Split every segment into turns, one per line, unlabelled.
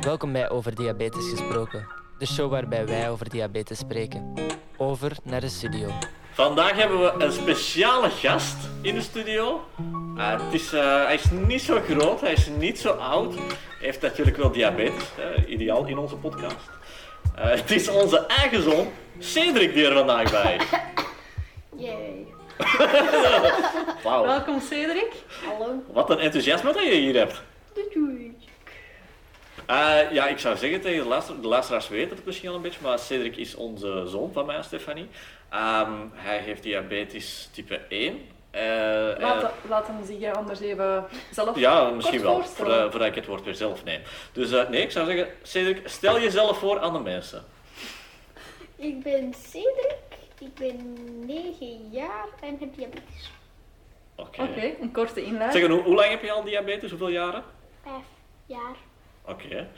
Welkom bij Over Diabetes Gesproken, de show waarbij wij over diabetes spreken. Over naar de studio.
Vandaag hebben we een speciale gast in de studio. Eh, het is, eh, hij is niet zo groot, hij is niet zo oud. Hij heeft natuurlijk wel diabetes, hè, ideaal in onze podcast. Eh, het is onze eigen zoon, Cedric, die er vandaag bij is.
Yay.
Wauw,
Welkom Cedric.
Hallo.
wat een enthousiasme dat je hier hebt.
Doei.
Eh, ja, ik zou zeggen tegen de luisteraars, de luisteraars weten het misschien al een beetje, maar Cedric is onze zoon van mij, Stefanie. Ehm, hij heeft diabetes type 1. Eh, eh,
Laat, laat hem zich eh, anders even zelf.
Ja, misschien wel. Voor,
voorstellen.
eh, voordat ik het woord weer zelf neem. Dus eh, nee, ik zou zeggen, Cedric, stel jezelf voor aan de mensen.
Ik ben Cedric. Ik ben 9 jaar en heb diabetes.
Oké.
Oké, een korte inleiding.
Zeg, en hoe, hoe lang heb je al diabetes? Hoeveel jaren?
5 jaar.
Oké,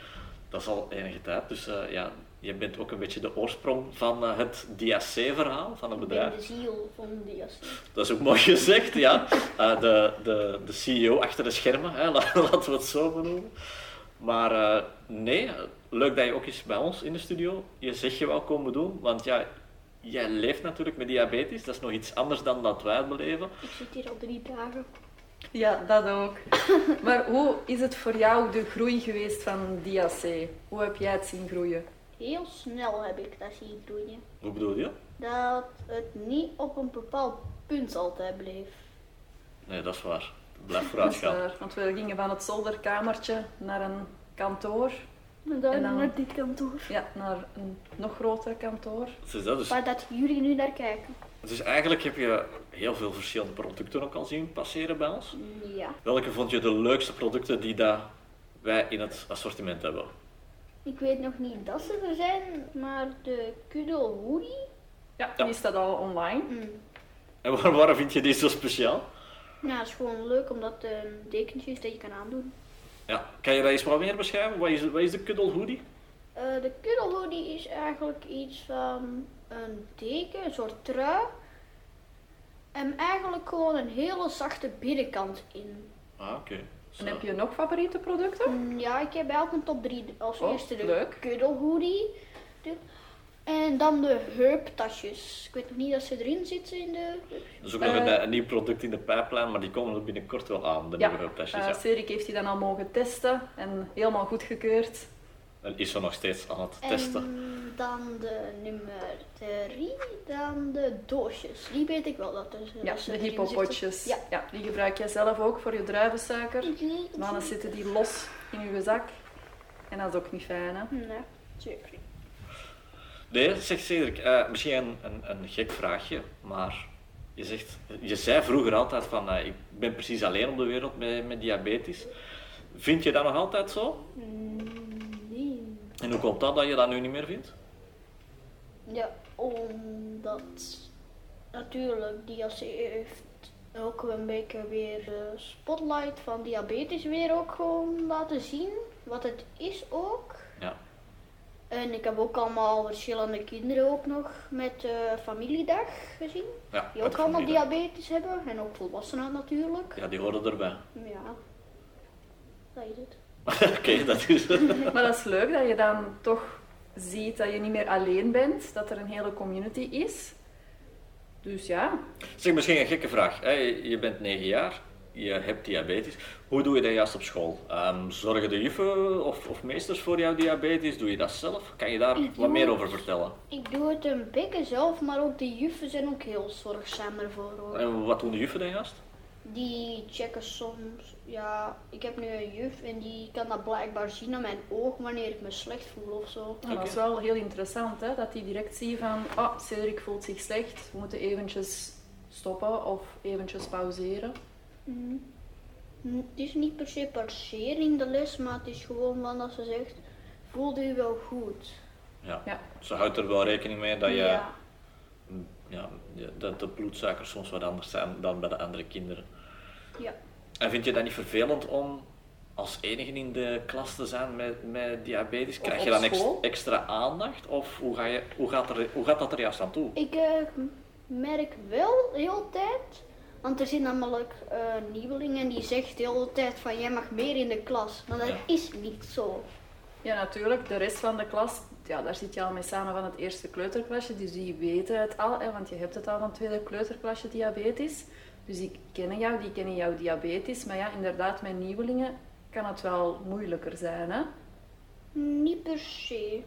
dat is al enige tijd. Dus eh, ja, je bent ook een beetje de oorsprong van eh, het DAC-verhaal van het
Ik ben
bedrijf.
de ziel van diabetes.
Dat is ook mooi gezegd, ja. Eh, de, de, de CEO achter de schermen, hè, la- laten we het zo benoemen. Maar eh, nee, leuk dat je ook eens bij ons in de studio je zegje wou komen doen. Want ja, jij leeft natuurlijk met diabetes. Dat is nog iets anders dan dat wij het beleven.
Ik zit hier al drie dagen.
Ja, dat ook. maar hoe is het voor jou de groei geweest van DAC? Hoe heb jij het zien groeien?
Heel snel heb ik dat zien groeien.
Hoe bedoel je?
Dat het niet op een bepaald punt altijd bleef.
Nee, dat is waar. Blijf
Dat
vooruit
is
gaan.
waar, want we gingen van het zolderkamertje naar een kantoor.
Maar dan,
En dan-
naar dit kantoor.
Ja, naar een nog groter kantoor.
Dus dat is,
Waar dat jullie nu naar kijken.
dus eigenlijk heb je heel veel verschillende producten ook al zien passeren bij ons.
Mm, Ja.
Welke vond je de leukste producten die dat wij in het assortiment hebben?
Ik weet nog niet dat ze er zijn, maar de Kudo Woody.
Ja,
Ja.
die staat al online.
Mm.
En waar, waarom vind je die zo speciaal?
Nou, het is gewoon leuk omdat het een dekentje is dat je kan aandoen.
Ja, kan je dat eens wat meer beschrijven? Wat is, wat is de kuddel hoodie?
Eh, de kuddelhoodie is eigenlijk iets van een deken, een soort trui. En eigenlijk gewoon een hele zachte binnenkant in.
Ah, oké. Zo.
En heb je nog favoriete producten?
Mm, Ja, ik heb eigenlijk een top 3 als
Oh,
eerste de
leuk.
kuddelhoodie. De- En dan de heuptasjes. Ik weet nog niet dat ze erin zitten in de...
Dat is ook nog
eh,
een, een nieuw product in de pijplijn, maar die komen er binnenkort wel aan, de nieuwe tasjes.
eh,
ja.
Cedric heeft die dan al mogen testen en helemaal goedgekeurd.
En is er nog steeds aan het testen.
En dan de nummer 3, dan de doosjes. Die weet ik wel dat er
Ja, dus,
dat ze
de
erin
hippopotjes.
zitten.
Ja, die gebruik jij zelf ook voor je druivensuiker.
Ja.
Maar dan zitten die los in je zak. En dat is ook niet fijn, hè?
Nee, Nou, zeker niet.
Nee, zeg Cedric, eh, misschien een, een, een gek vraagje, maar je, zegt, je zei vroeger altijd van eh, ik ben precies alleen op de wereld met, met diabetes. Vind je dat nog altijd zo?
Mm, Nee.
En hoe komt dat dat je dat nu niet meer vindt?
Ja, omdat natuurlijk DLC heeft ook een beetje weer de spotlight van diabetes weer ook gewoon laten zien. Wat het is ook.
Ja.
En ik heb ook allemaal verschillende kinderen ook nog met eh, familiedag gezien.
ja
Die
uit
ook allemaal
familie.
diabetes hebben. En ook volwassenen natuurlijk.
Ja, die horen erbij.
Ja. Dat is het.
Oké, dat is
Maar dat is leuk dat je dan toch ziet dat je niet meer alleen bent. Dat er een hele community is. Dus ja,
Zeg, misschien een gekke vraag. hè. Je bent 9 jaar, je hebt diabetes. Hoe doe je dat juist op school? Ehm, zorgen de juffen of, of meesters voor jouw diabetes? Doe je dat zelf? Kan je daar
Ik
wat meer
doe-
over vertellen?
Ik doe het een beetje zelf, maar ook de juffen zijn ook heel zorgzaam ervoor hoor.
En wat doen de juffen dan juist?
Die checken soms. Ja, ik heb nu een juf en die kan dat blijkbaar zien aan mijn oog wanneer ik me slecht voel of zo.
nou, dat is wel heel interessant, hè? Dat die direct zien van... Oh, Cedric voelt zich slecht. We moeten eventjes stoppen of eventjes pauzeren.
Hm, Het is niet per se passering de les, maar het is gewoon van dat ze zegt: voelt u wel goed?
Ja.
Ja.
Ze houdt er wel rekening mee dat, je, ja.
Ja.
je- dat de bloedsuikers soms wat anders zijn dan bij de andere kinderen.
ja.
En vind je dat niet vervelend om als enige in de klas te zijn met, met diabetes? Krijg
op
je dan ex-
school?
extra aandacht? Of hoe, ga je, hoe, gaat er, hoe gaat dat er juist aan toe?
Ik eh, merk wel de hele tijd, want er zijn namelijk eh nieuwelingen die zegt de hele tijd van jij mag meer in de klas, maar dat
Ja.
is niet zo.
Ja, natuurlijk. De rest van de klas, ja, daar zit je al mee samen van het eerste kleuterklasje. Dus die weten het al, hè, want je hebt het al van het tweede kleuterklasje diabetes. Dus die kennen jou, die kennen jouw diabetes. Maar ja, inderdaad, met nieuwelingen kan het wel moeilijker zijn. Hè?
Niet per se.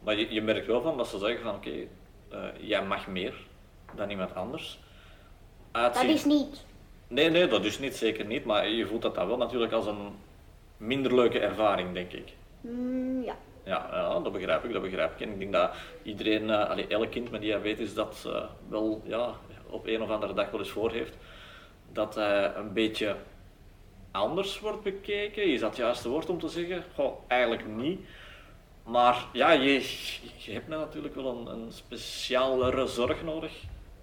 Maar je, je merkt wel van dat ze zeggen van oké, eh, jij mag meer dan iemand anders.
Dat
Uitzien-
is niet.
Nee, nee, dat is niet, zeker niet. Maar je voelt dat dat wel natuurlijk als een minder leuke ervaring, denk ik.
Mm, ja.
Ja, ja, dat begrijp ik, dat begrijp ik. En ik denk dat iedereen, eh, allee, elk kind met diabetes dat eh, wel ja, op een of andere dag wel eens voor heeft, dat hij een beetje anders wordt bekeken. Is dat het juiste woord om te zeggen? Goh, eigenlijk niet. Maar ja, je, je hebt nou natuurlijk wel een, een specialere zorg nodig,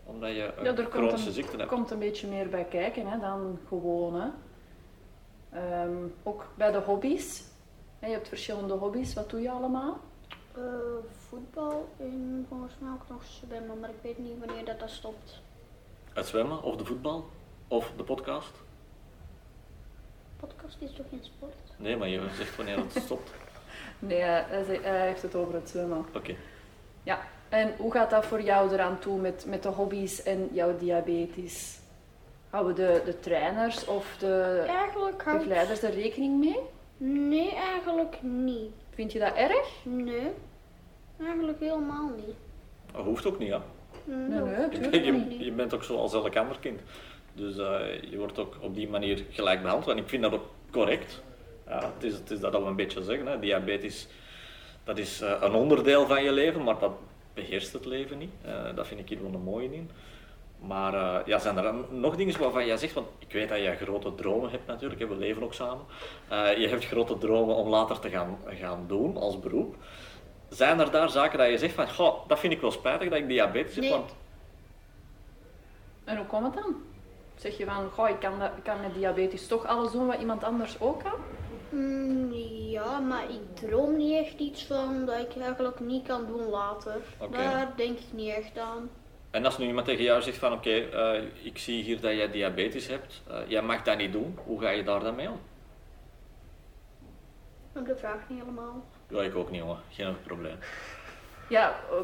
omdat je een
Ja, er komt
chronische
een,
ziekte
er
hebt.
komt een beetje meer bij kijken hè, dan gewoon. Hè. Ehm, ook bij de hobby's. Hè, Je hebt verschillende hobby's. Wat doe je allemaal?
Eh, voetbal en volgens mij ook nog zwemmen, maar ik weet niet wanneer dat, dat stopt.
Het zwemmen, of de voetbal, of de podcast.
Podcast is toch geen sport?
Nee, maar je zegt wanneer het stopt.
Nee, hij, ze- hij heeft het over het zwemmen.
Oké.
Ja, en hoe gaat dat voor jou eraan toe met, met de hobby's en jouw diabetes? Houden de, de trainers of de
Eigenlijk houdt...
begeleiders er rekening mee?
Nee, eigenlijk niet.
Vind je dat erg?
Nee, eigenlijk helemaal niet. Nou,
Dat hoeft ook niet, hè.
Nee, nee,
Ik
tuurlijk
denk,
niet.
je, je bent ook zoals elk ander kind. Dus eh, je wordt ook op die manier gelijk behandeld. En ik vind dat ook correct. Ja, het, is, het is dat al een beetje zeggen. Hè. Diabetes dat is eh, een onderdeel van je leven, maar dat beheerst het leven niet. Eh dat vind ik hier wel een mooie in. Maar eh, ja, zijn er dan nog dingen waarvan jij zegt, want ik weet dat jij grote dromen hebt natuurlijk, hè, we leven ook samen. Eh, je hebt grote dromen om later te gaan, gaan doen als beroep. Zijn er daar zaken dat je zegt van, goh, dat vind ik wel spijtig dat ik diabetes heb,
Nee.
want
En hoe komt het dan? Zeg je van, goh, ik kan, dat, ik kan met diabetes toch alles doen wat iemand anders ook kan?
Mm, ja, maar ik droom niet echt iets van dat ik eigenlijk niet kan doen later.
Oké.
Daar denk ik niet echt aan.
En als nu iemand tegen jou zegt van oké, eh, ik zie hier dat jij diabetes hebt, eh, jij mag dat niet doen, hoe ga je daar dan mee om?
Ik de vraag niet helemaal.
Ja, ik ook niet jongen, geen probleem.
Ja, eh,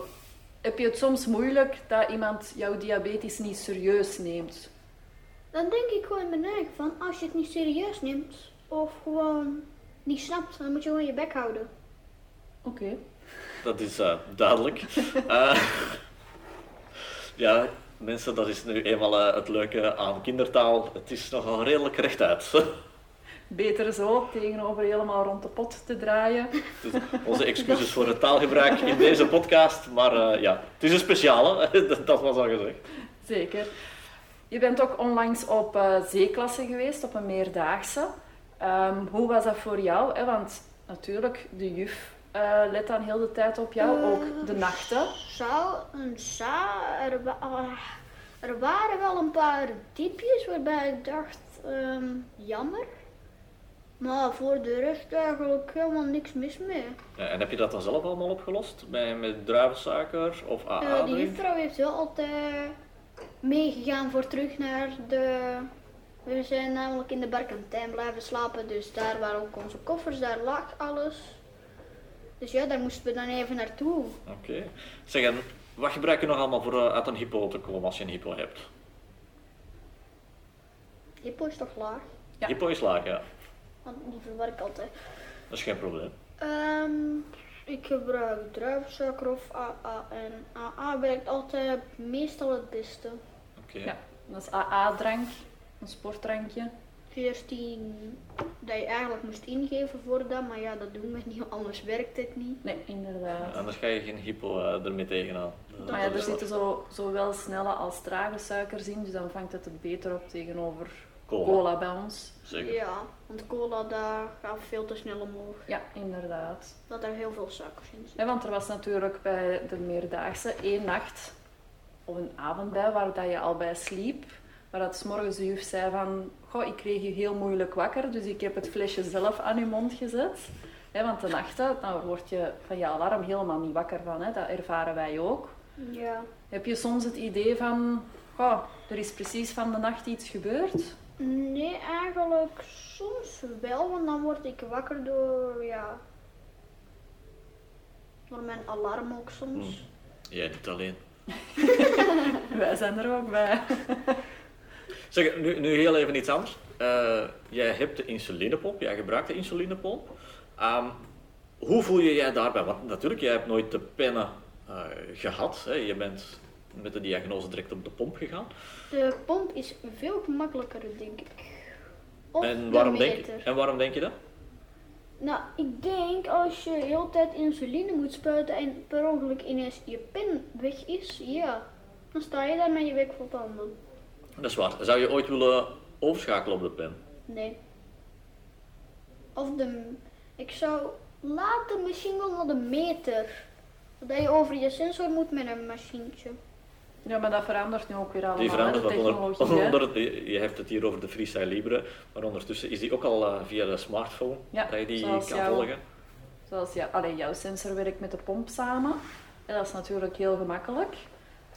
heb je het soms moeilijk dat iemand jouw diabetes niet serieus neemt?
Dan denk ik gewoon in mijn eigen van, als je het niet serieus neemt of gewoon niet snapt, dan moet je gewoon je bek houden.
Oké.
Dat is eh, duidelijk. Eh, ja, mensen, dat is nu eenmaal eh, het leuke aan kindertaal. Het is nogal redelijk rechtuit.
Beter zo, tegenover helemaal rond de pot te draaien.
Dus onze excuses voor het taalgebruik in deze podcast, maar eh, ja, het is een speciale, dat dat was al gezegd.
Zeker. Je bent ook onlangs op eh zeeklasse geweest, op een meerdaagse. Ehm, hoe was dat voor jou? hè? Want natuurlijk, de juf eh, let dan heel de tijd op jou,
Eh.
ook de nachten.
Zou een za, er, wa- ah, er waren wel een paar diepjes waarbij ik dacht, ehm, jammer. Maar voor de rest eigenlijk helemaal niks mis mee.
Ja, en heb je dat dan zelf allemaal opgelost? Met, met druivensuiker of AA?
Eh, de
erin?
juffrouw heeft wel altijd meegegaan voor terug naar de. We zijn namelijk in de barkantijn blijven slapen, dus daar waren ook onze koffers, daar lag alles. Dus ja, daar moesten we dan even naartoe.
Oké. Zeg, en wat gebruik je nog allemaal voor eh, uit een hypo te komen als je een hypo hebt?
Hippo is toch laag?
Ja.
Hypo is laag, ja.
Want die verwar ik altijd.
Dat is geen probleem.
Ehm, ik gebruik druivensuiker of AA en AA werkt altijd meestal het beste.
Oké.
Ja, dat is AA-drank, een sportdrankje.
14 dat je eigenlijk moest ingeven voor dat, maar ja, dat doen we niet, anders werkt het niet.
Nee, inderdaad.
Eh, Anders ga je geen hypo eh, ermee tegenaan. Eh,
Maar Oh ja,
dat
er dus
is wel-
zitten zo, zowel snelle als trage suikers in, dus dan vangt het het beter op tegenover
Cola.
cola bij ons.
Zeker.
Ja, want cola daar gaat veel te snel omhoog.
Ja, inderdaad.
Dat er heel veel suikers in zitten.
Ja, want er was natuurlijk bij de meerdaagse één nacht of een avond bij waar dat je al bij sliep. Waar dat 's morgens de juf zei van, goh, ik kreeg je heel moeilijk wakker, dus ik heb het flesje zelf aan je mond gezet. Hè, want de nachten, dan word je van je alarm helemaal niet wakker van, hè? dat ervaren wij ook.
Ja.
Heb je soms het idee van, goh, er is precies van de nacht iets gebeurd?
Nee, eigenlijk soms wel, want dan word ik wakker door ja, Door mijn alarm ook soms.
Jij doet alleen.
Wij zijn er ook bij.
Zeg, nu, nu heel even iets anders. Eh, jij hebt de insulinepomp, jij gebruikt de insulinepomp. Ehm, hoe voel je jij daarbij? Want natuurlijk, jij hebt nooit de pennen eh, gehad. Hè? Je bent met de diagnose direct op de pomp gegaan.
De pomp is veel gemakkelijker, denk ik. Of
Oh,
en, waarom
de
denk
meter.
je, en waarom denk je dat?
Nou, ik denk als je de hele tijd insuline moet spuiten en per ongeluk ineens je pen weg is, ja. Dan sta je daar met je werk vol tanden.
Dat is waar. Zou je ooit willen overschakelen op de pen?
Nee. Of de... Ik zou later misschien wel naar de meter. Dat je over je sensor moet met een machientje.
Ja, maar dat verandert nu ook weer allemaal.
Die verandert
hè,
wat
de
onder,
technologie, hè.
onder het- je- je hebt het hier over de Freestyle Libre, maar ondertussen is die ook al eh, via de smartphone
Ja,
dat je die kan
zoals jou.
volgen.
Zoals ja, allee, jouw sensor werkt met de pomp samen. En dat is natuurlijk heel gemakkelijk.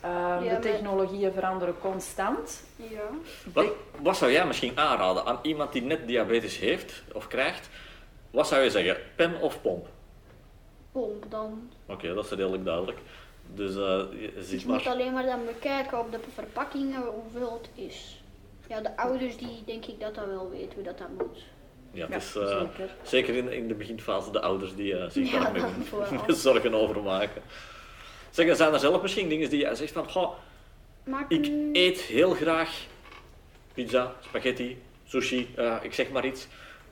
Ehm,
maar-
de technologieën veranderen constant.
Ja.
Wat, wat zou jij misschien aanraden aan iemand die net diabetes heeft of krijgt? Wat zou je zeggen, pen of pomp?
Pomp dan.
Oké, dat is redelijk duidelijk. Dus eh, je ziet
Je moet
maar.
alleen maar dan bekijken op de verpakkingen hoeveel het is. Ja, de ouders die denk ik dat dat wel weten hoe dat dat moet.
Ja,
Ja,
het is, eh,
zeker.
zeker in, in de beginfase de ouders die eh, zich
Ja,
daarmee
dat vooral.
zorgen over maken. Zeg, zijn er zelf misschien dingen die jij zegt van, goh,
Maak
Ik
nu-
eet heel graag pizza, spaghetti, sushi, eh, ik zeg maar iets.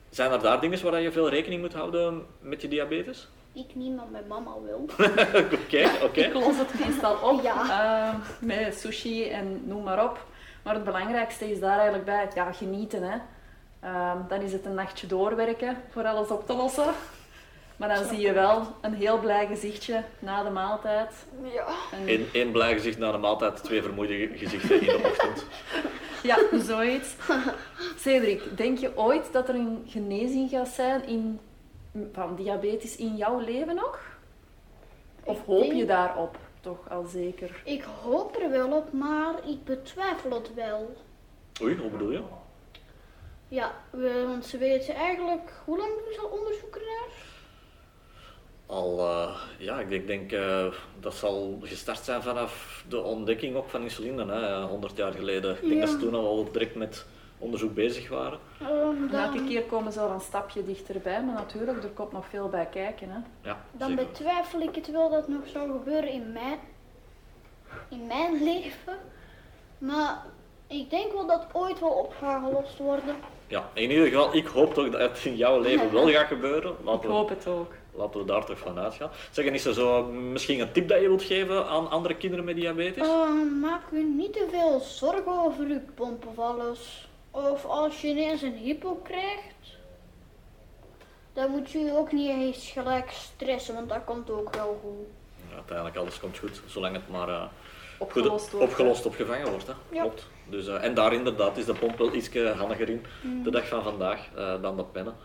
Zijn er daar dingen waar je veel rekening moet houden met je diabetes?
Ik niet, maar mijn mama wil.
Oké, oké.
Ik los het meestal op
Ja.
ehm, met sushi en noem maar op. Maar het belangrijkste is daar eigenlijk bij ja, genieten. Hè. Ehm, dan is het een nachtje doorwerken voor alles op te lossen. Maar dan zie je wel een heel blij gezichtje na de maaltijd.
Ja.
En-
Eén één blij gezicht na de maaltijd, twee vermoeide gezichten in de ochtend.
Ja,
dus
zoiets. Cedric, denk je ooit dat er een genezing gaat zijn in, van diabetes in jouw leven nog? Of
Ik
hoop je
denk-
daarop? Toch al zeker.
Ik hoop er wel op, maar ik betwijfel het wel.
Oei, hoe bedoel je?
Ja, we- want ze weten eigenlijk... Hoe lang doen ze al onderzoek naar?
Al, eh, ja, ik denk, denk eh, dat zal gestart zijn vanaf de ontdekking ook van insuline, hè, 100 jaar geleden. Ik denk dat ze
Ja.
toen al direct met onderzoek bezig waren.
Ehm,
En elke
dan
keer komen ze al een stapje dichterbij, maar natuurlijk, er komt nog veel bij kijken. Hè?
Ja,
dan
zeker.
betwijfel ik het wel dat het nog zou gebeuren in mijn, in mijn leven. Maar ik denk wel dat het ooit wel op gaat gelost worden.
Ja, in ieder geval, ik hoop toch dat het in jouw leven wel gaat gebeuren.
Ik
Laten we,
hoop het ook.
laten we daar toch van uitgaan. Zeg, en is er zo misschien een tip dat je wilt geven aan andere kinderen met
Eh.
diabetes?
Ehm, maak u niet te veel zorgen over uw pomp of alles. Of als je ineens een hypo krijgt, dan moet je ook niet eens gelijk stressen, want dat komt ook wel goed.
Ja, uiteindelijk, alles komt goed, zolang het maar eh, goed
Opgelost wordt.
opgelost, opgevangen wordt. Hè?
Ja.
Klopt. Dus, eh, en daar inderdaad is de pomp wel iets handiger in,
Mm.
de dag van vandaag, eh, dan de pennen.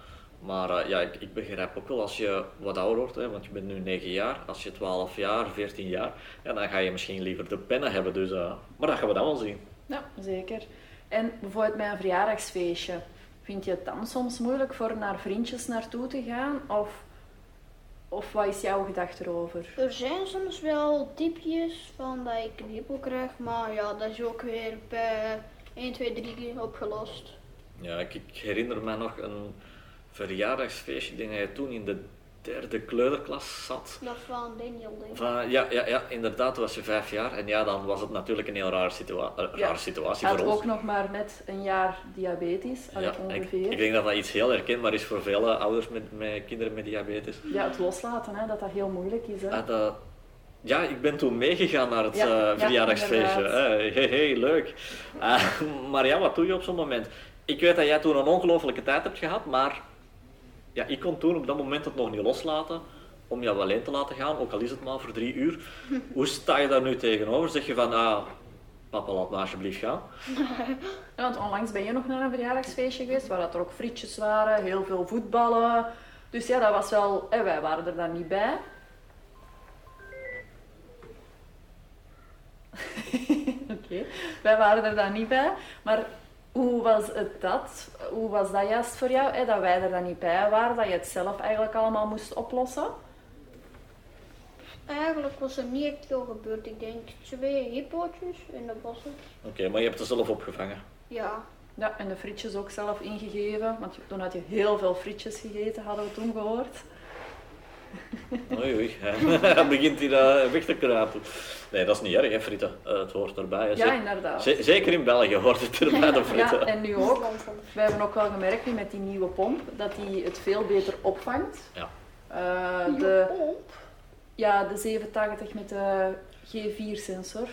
Maar eh, ja, ik, ik begrijp ook wel als je wat ouder wordt, hè, want je bent nu 9 jaar, als je 12 jaar, 14 jaar, ja, dan ga je misschien liever de pennen hebben. Dus, eh, maar dat gaan we dan wel zien.
Ja, zeker. En bijvoorbeeld bij een verjaardagsfeestje. Vind je het dan soms moeilijk voor naar vriendjes naartoe te gaan? Of, of wat is jouw gedachte erover?
Er zijn soms wel tipjes van dat ik een hypo krijg, maar ja, dat is ook weer bij 1, 2, 3 opgelost.
Ja, ik, ik herinner me nog een verjaardagsfeestje. Ik denk dat je toen in de derde kleuterklas zat.
Dat van Daniel, denk ik.
Van, ja, ja, ja, inderdaad, toen was je vijf jaar. En ja, dan was het natuurlijk een heel raar situa- eh,
Ja.
rare situatie
Had
voor ons.
ook nog maar net een jaar diabetes, allee,
Ja, ik,
ongeveer.
ik denk dat dat iets heel herkenbaar is voor vele ouders met, met kinderen met diabetes.
Ja, het loslaten, hè, dat dat heel moeilijk is. Hè.
Ah, dat- ja, ik ben toen meegegaan naar het
Ja,
eh,
ja,
verjaardagsfeestje.
inderdaad.
Hé, hey, hey, leuk. Ah, maar ja, wat doe je op zo'n moment? Ik weet dat jij toen een ongelofelijke tijd hebt gehad, maar ja, ik kon toen op dat moment het nog niet loslaten om jou alleen te laten gaan, ook al is het maar voor drie uur. Hoe sta je daar nu tegenover? Zeg je van, ah, papa laat me alsjeblieft gaan.
Ja, want onlangs ben je nog naar een verjaardagsfeestje geweest, waar dat er ook frietjes waren, heel veel voetballen. Dus ja, dat was wel... En wij waren er dan niet bij. Oké, wij waren er dan niet bij. Maar hoe was het dat? Hoe was dat juist voor jou, hè, dat wij er dan niet bij waren? Dat je het zelf eigenlijk allemaal moest oplossen?
Eigenlijk was er niet echt veel gebeurd. Ik denk twee hippootjes en dat was het.
Oké, maar je hebt het zelf opgevangen.
Ja,
Ja, en de frietjes ook zelf ingegeven. Want je- toen had je heel veel frietjes gegeten, hadden we toen gehoord.
Oei, oei. Dan begint hij daar weg te kruipen. Nee, dat is niet erg, hè, frieten. Eh, het hoort erbij. hè.
Ja,
Ze-
inderdaad.
ze- zeker in België hoort het erbij, de frieten.
Ja, en nu
dat is
ook.
lang van de
We hebben ook wel gemerkt nu met die nieuwe pomp dat die het veel beter opvangt.
Ja.
Eh,
nieuwe
de,
pomp.
ja, de 87 met de G4-sensor.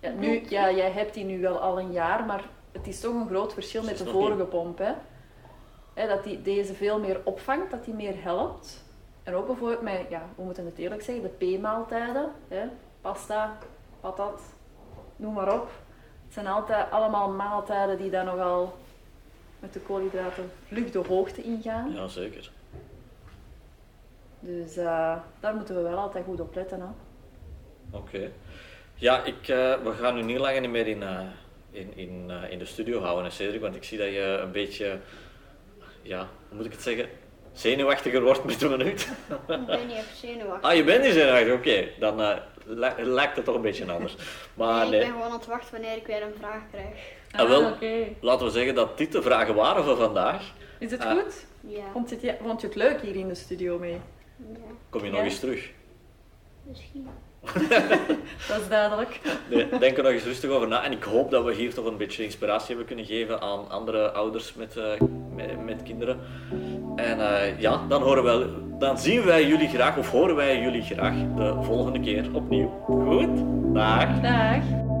Ja, nu, ja, jij hebt die nu wel al een jaar, maar het is toch een groot verschil
Ze
met
is
de
nog
vorige pomp. Hè? Hè, dat die, deze veel meer opvangt, dat die meer helpt. En ook bijvoorbeeld met, ja, we moeten het eerlijk zeggen, de P-maaltijden. Hè? Pasta, patat, noem maar op. Het zijn altijd allemaal maaltijden die daar nogal met de koolhydraten vlug de hoogte ingaan.
Ja, zeker.
Dus eh, daar moeten we wel altijd goed op letten. Hè?
Oké. Ja, ik, eh, we gaan nu niet langer niet meer in, eh, in, in, eh, in de studio houden, hè, Cedric. Want ik zie dat je een beetje, ja, hoe moet ik het zeggen, zenuwachtiger wordt met de minuut.
Ik ben niet echt zenuwachtig.
Ah, je bent niet zenuwachtig. Oké, dan eh, li- lijkt het toch een beetje anders. Maar
Nee, ik
Ah, nee,
ben gewoon aan het wachten wanneer ik weer een vraag krijg.
Ah, wel.
Ah, Oké.
laten we zeggen dat dit de vragen waren voor vandaag.
Is het
Ah.
goed?
Ja.
Vond je, het, vond je het leuk hier in de studio mee?
ja.
Kom je
Ja.
nog eens terug?
Misschien.
Dat is duidelijk.
Nee, denk er nog eens rustig over na. En ik hoop dat we hier toch een beetje inspiratie hebben kunnen geven aan andere ouders met, eh, met, met kinderen. En eh, ja, dan, horen wij, dan zien wij jullie graag, of horen wij jullie graag de volgende keer opnieuw. Goed? Dag!
Dag.